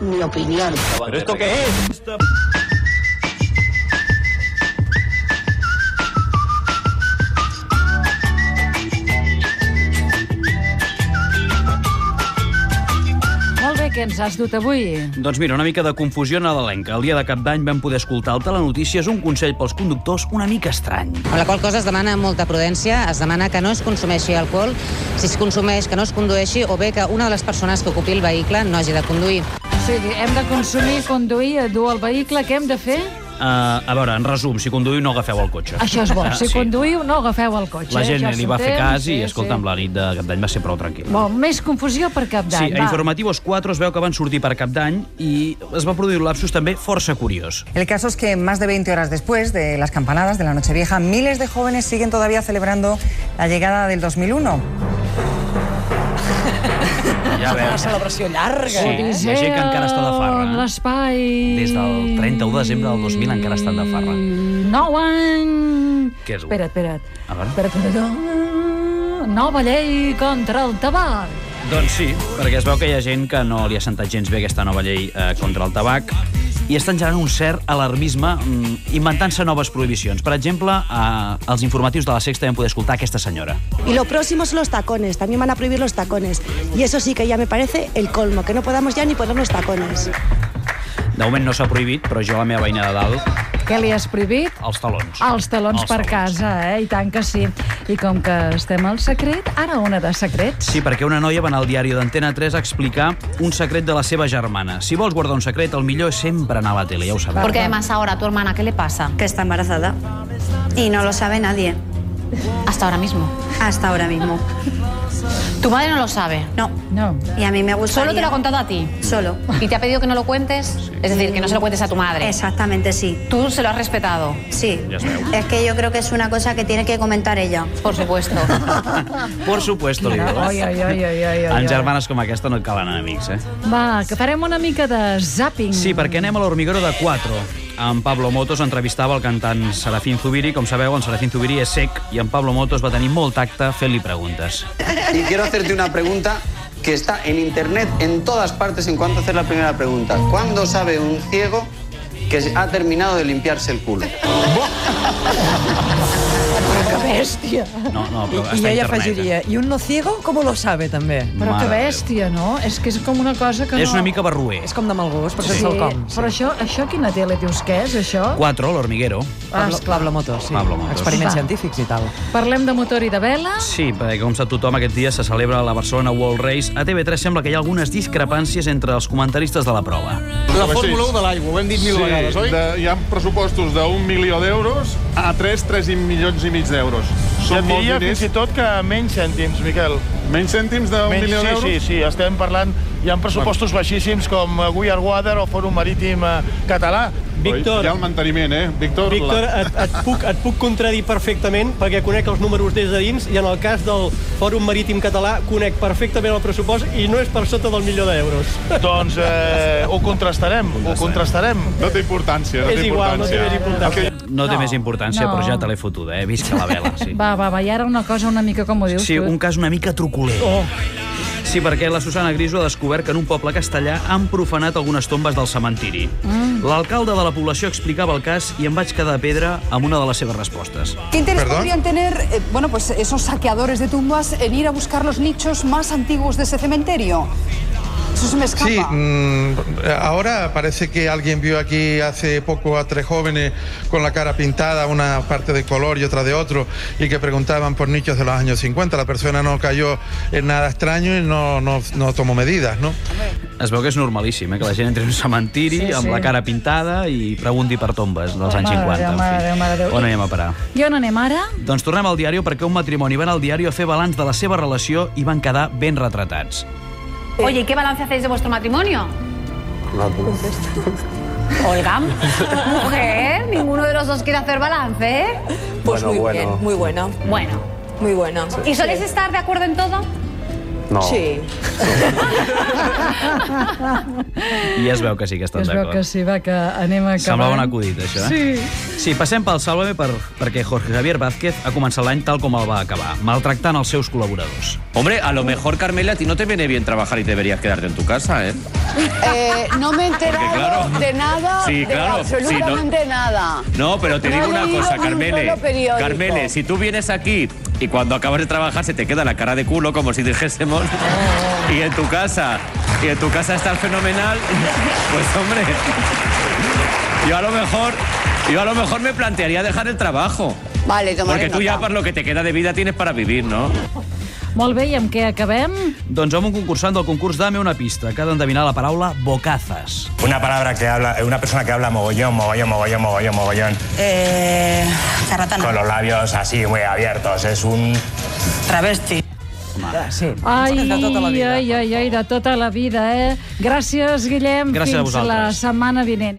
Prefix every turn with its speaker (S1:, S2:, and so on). S1: mi opinión.
S2: ¿Pero esto qué es?
S3: Molt bé, què ens has dut avui?
S2: Doncs mira, una mica de confusió nadalenca. El dia de cap d'any vam poder escoltar al Telenotícies un consell pels conductors una mica estrany. Eh,
S4: Amb la qual cosa es demana molta prudència, es demana que no es consumeixi alcohol, si es consumeix que no es condueixi o bé que una de les persones que ocupi el vehicle no hagi de conduir.
S3: O sigui, hem de consumir, conduir, dur el vehicle, què hem de fer?
S2: Uh, a veure, en resum, si conduïu no agafeu el cotxe.
S3: Això és bo,
S2: Ah,
S3: si conduïu no agafeu el cotxe.
S2: La gent
S3: eh? Això
S2: li va fer
S3: s'entén,
S2: cas i,
S3: sí,
S2: escolta'm, la nit de cap d'any va ser prou tranquil·la.
S3: Bon, més confusió per cap
S2: Sí,
S3: d'any.
S2: a
S3: va.
S2: Informativos 4 es veu que van sortir per cap d'any i es va produir un lapsus també força curiós.
S5: El caso es que más de 20 horas después de las campanadas de la Nochevieja, miles de jóvenes siguen todavía celebrando la llegada del 2001.
S2: Ja
S6: Una
S2: veus.
S6: celebració llarga,
S2: Sí, hi ha
S6: eh?
S2: gent que encara està de farra.
S3: En l'espai...
S2: Des del 31 de desembre del 2000 encara estan de farra.
S3: 9 anys...
S2: Què és?
S3: Espera't, espera't.
S2: A veure.
S3: Espera't, espera't. Nova llei contra el tabac.
S2: Doncs sí, perquè es veu que hi ha gent que no li ha sentat gens bé aquesta nova llei eh, contra el tabac i estan generant un cert alarmisme mm, inventant-se noves prohibicions. Per exemple, eh, als informatius de la Sexta vam poder escoltar aquesta senyora.
S7: Y lo próximo son los tacones, también van a prohibir los tacones. Y eso sí que ya me parece el colmo, que no podamos ya ni ponernos tacones.
S2: De moment no s'ha prohibit, però jo a la meva veïna de dalt,
S3: Què li has prohibit?
S2: els talons.
S3: Els talons per casa, eh? I tant que sí. I com que estem al secret, ara una de secrets.
S2: Sí, perquè una noia va anar al diari d'Antena 3 a explicar un secret de la seva germana. Si vols guardar un secret, el millor és sempre anar a la tele, ja ho sabeu.
S8: Porque además ahora a tu hermana, ¿qué le pasa?
S9: que está embarazada y no lo sabe nadie
S8: Hasta ahora mismo.
S9: hasta ahora mismo.
S8: Tu madre no lo sabe.
S9: No.
S3: No.
S9: Y a mí me gusta.
S8: Solo te lo ha contado a ti.
S9: Solo.
S8: Y te ha pedido que no lo cuentes, es decir, que no se lo cuentes a tu madre.
S9: Exactamente, sí.
S8: Tú se lo has respetado.
S9: Sí.
S2: Ya sabemos.
S9: Es que yo creo que es una cosa que tiene que comentar ella.
S8: Por supuesto.
S2: Por supuesto, li diu.
S3: Ai, ai, ai, ai, ai, ai.
S2: En germanes com aquesta no et calen enemics, eh?
S3: Va, que farem una mica de zapping.
S2: Sí, perquè anem a l'Hormiguero de 4. En Pablo Motos entrevistava el cantant Serafín Zubiri. Com sabeu, en Serafín Zubiri és sec i en Pablo Motos va tenir molt tacte fent-li preguntes.
S10: Y quiero hacerte una pregunta que está en internet en todas partes en cuanto a hacer la primera pregunta. ¿Cuándo sabe un ciego que ha terminado de limpiarse el culo?
S6: Que bèstia.
S2: No, no, però
S6: I, i
S2: està a
S6: ella
S2: internet, eh?
S6: afegiria, i eh, un no ciego, com lo sabe, també?
S3: Però
S2: Mare
S3: que
S2: de Déu.
S3: bèstia, no? És que és com una cosa que
S2: És
S3: no...
S2: una mica barruer.
S6: És com de mal gust, per això
S3: Sí,
S6: és el com.
S3: però això, això quina tele dius que és, això?
S2: 4, l'Hormiguero.
S3: Ah,
S6: Pablo, Pablo Motos, sí.
S2: Pablo Motos.
S6: Experiments
S3: Va.
S6: científics i tal.
S3: Parlem de motor i de vela?
S2: Sí, perquè com sap tothom, aquest dia se celebra la Barcelona World Race. A TV3 sembla que hi ha algunes discrepàncies entre els comentaristes de la prova.
S11: La Fórmula 1 de l'aigua, ho hem dit mil sí, vegades, oi? De, hi ha pressupostos d'un milió d'euros a 3, 3 milions i mig d'euros. Són molts diria fins i tot que menys cèntims, Miquel. Menys cèntims d'un milió d'euros? Sí, sí, sí, estem parlant... Hi ha pressupostos bueno. baixíssims com We Are Water o Fòrum Marítim eh, Català.
S12: Víctor.
S11: Hi ha el manteniment, eh? Víctor,
S12: Víctor, et, et, puc, et puc contradir perfectament perquè conec els números des de dins i en el cas del Fòrum Marítim Català conec perfectament el pressupost i no és per sota del milió d'euros.
S11: Doncs eh, ho contrastarem, ho contrastarem. No té importància,
S12: És igual, no té més importància.
S2: No, té
S3: No,
S2: més importància,
S3: no.
S2: però ja te l'he fotuda, eh? Visca la vela, sí.
S3: Va, va, va, i ara una cosa una mica com ho dius
S2: Sí,
S3: tu.
S2: un cas una mica truculent.
S12: Oh.
S2: Sí, perquè la Susana Griso ha descobert que en un poble castellà han profanat algunes tombes del cementiri. Mm. L'alcalde de la població explicava el cas i em vaig quedar de pedra amb una de les seves respostes.
S7: ¿Qué interés
S11: ¿Perdón?
S7: podrían tener, eh, bueno, pues esos saqueadores de tumbas en ir a buscar los nichos más antiguos de ese cementerio? Eso se me escapa.
S2: mm.
S11: ahora parece que alguien vio aquí hace poco a tres jóvenes con la cara pintada, una parte de color y otra de otro, y que preguntaban por nichos de los años 50. La persona no cayó en nada extraño y no, no, no tomó medidas, ¿no?
S2: Es veu que és normalíssim, eh? que la gent entri en un cementiri
S3: Sí,
S2: sí, amb
S3: sí.
S2: la cara pintada i pregunti per tombes dels anys
S3: Mare
S2: 50.
S3: Déu, mare Déu, mare Déu.
S2: On anem a parar?
S3: I on anem ara?
S2: Doncs tornem al diari perquè un matrimoni van al diari a fer balanç de la seva relació i van quedar ben retratats.
S8: Oye, ¿y qué balance hacéis de vuestro matrimonio? Olga, mujer, ninguno de los dos quiere hacer balance, ¿eh?
S6: Pues bueno, muy bueno. bien,
S8: Bueno,
S6: muy bueno.
S8: ¿y soléis estar de acuerdo en todo?
S13: No.
S5: Sí.
S2: I es veu que sí que estan
S3: Es veu
S2: Doncs d'acord.
S3: que sí, va, que anem acabant.
S2: Semblava un acudit, això, eh? Sí. Sí, passem pel Sálvame per, perquè Jorge Javier Vázquez ha començat l'any tal com el va acabar, maltractant els seus col·laboradors.
S14: Hombre, a lo mejor, Carmela, a ti no te viene bien trabajar y deberías quedarte en tu casa, ¿eh?
S8: Eh, no me he enterado
S14: claro.
S8: de nada,
S6: Ah,
S14: Sí, claro,
S8: de
S14: sí, no-
S8: absolutamente nada.
S14: No, pero te
S8: No
S14: digo
S8: he
S14: una
S8: leído
S14: cosa,
S8: ni un
S14: Carmele.
S8: solo periódico.
S14: Carmele, si tú vienes aquí y cuando acabas de trabajar se te queda la cara de culo como si dijésemos y en tu casa y en tu casa estás fenomenal, pues hombre, yo a lo mejor yo a lo mejor me plantearía dejar el trabajo.
S8: Vale, tomaré
S14: Porque tú ya para lo que te queda de vida tienes para vivir, ¿no?
S3: Molt bé, i amb què acabem?
S2: Doncs amb un concursant del concurs Dame una pista, que ha d'endevinar la paraula bocazas.
S7: Una palabra que habla, eh, una persona que habla mogollón, mogollón, mogollón, mogollón, mogollón.
S5: Eh,
S7: Con los labios así, muy abiertos. Es un...
S5: travesti.
S15: Sí.
S3: Ai,
S15: De tota la vida.
S3: ai, ai, ai, de tota la vida, eh? Gràcies, Guillem.
S2: Gràcies a
S3: Fins
S2: vosaltres.
S3: la setmana vinent.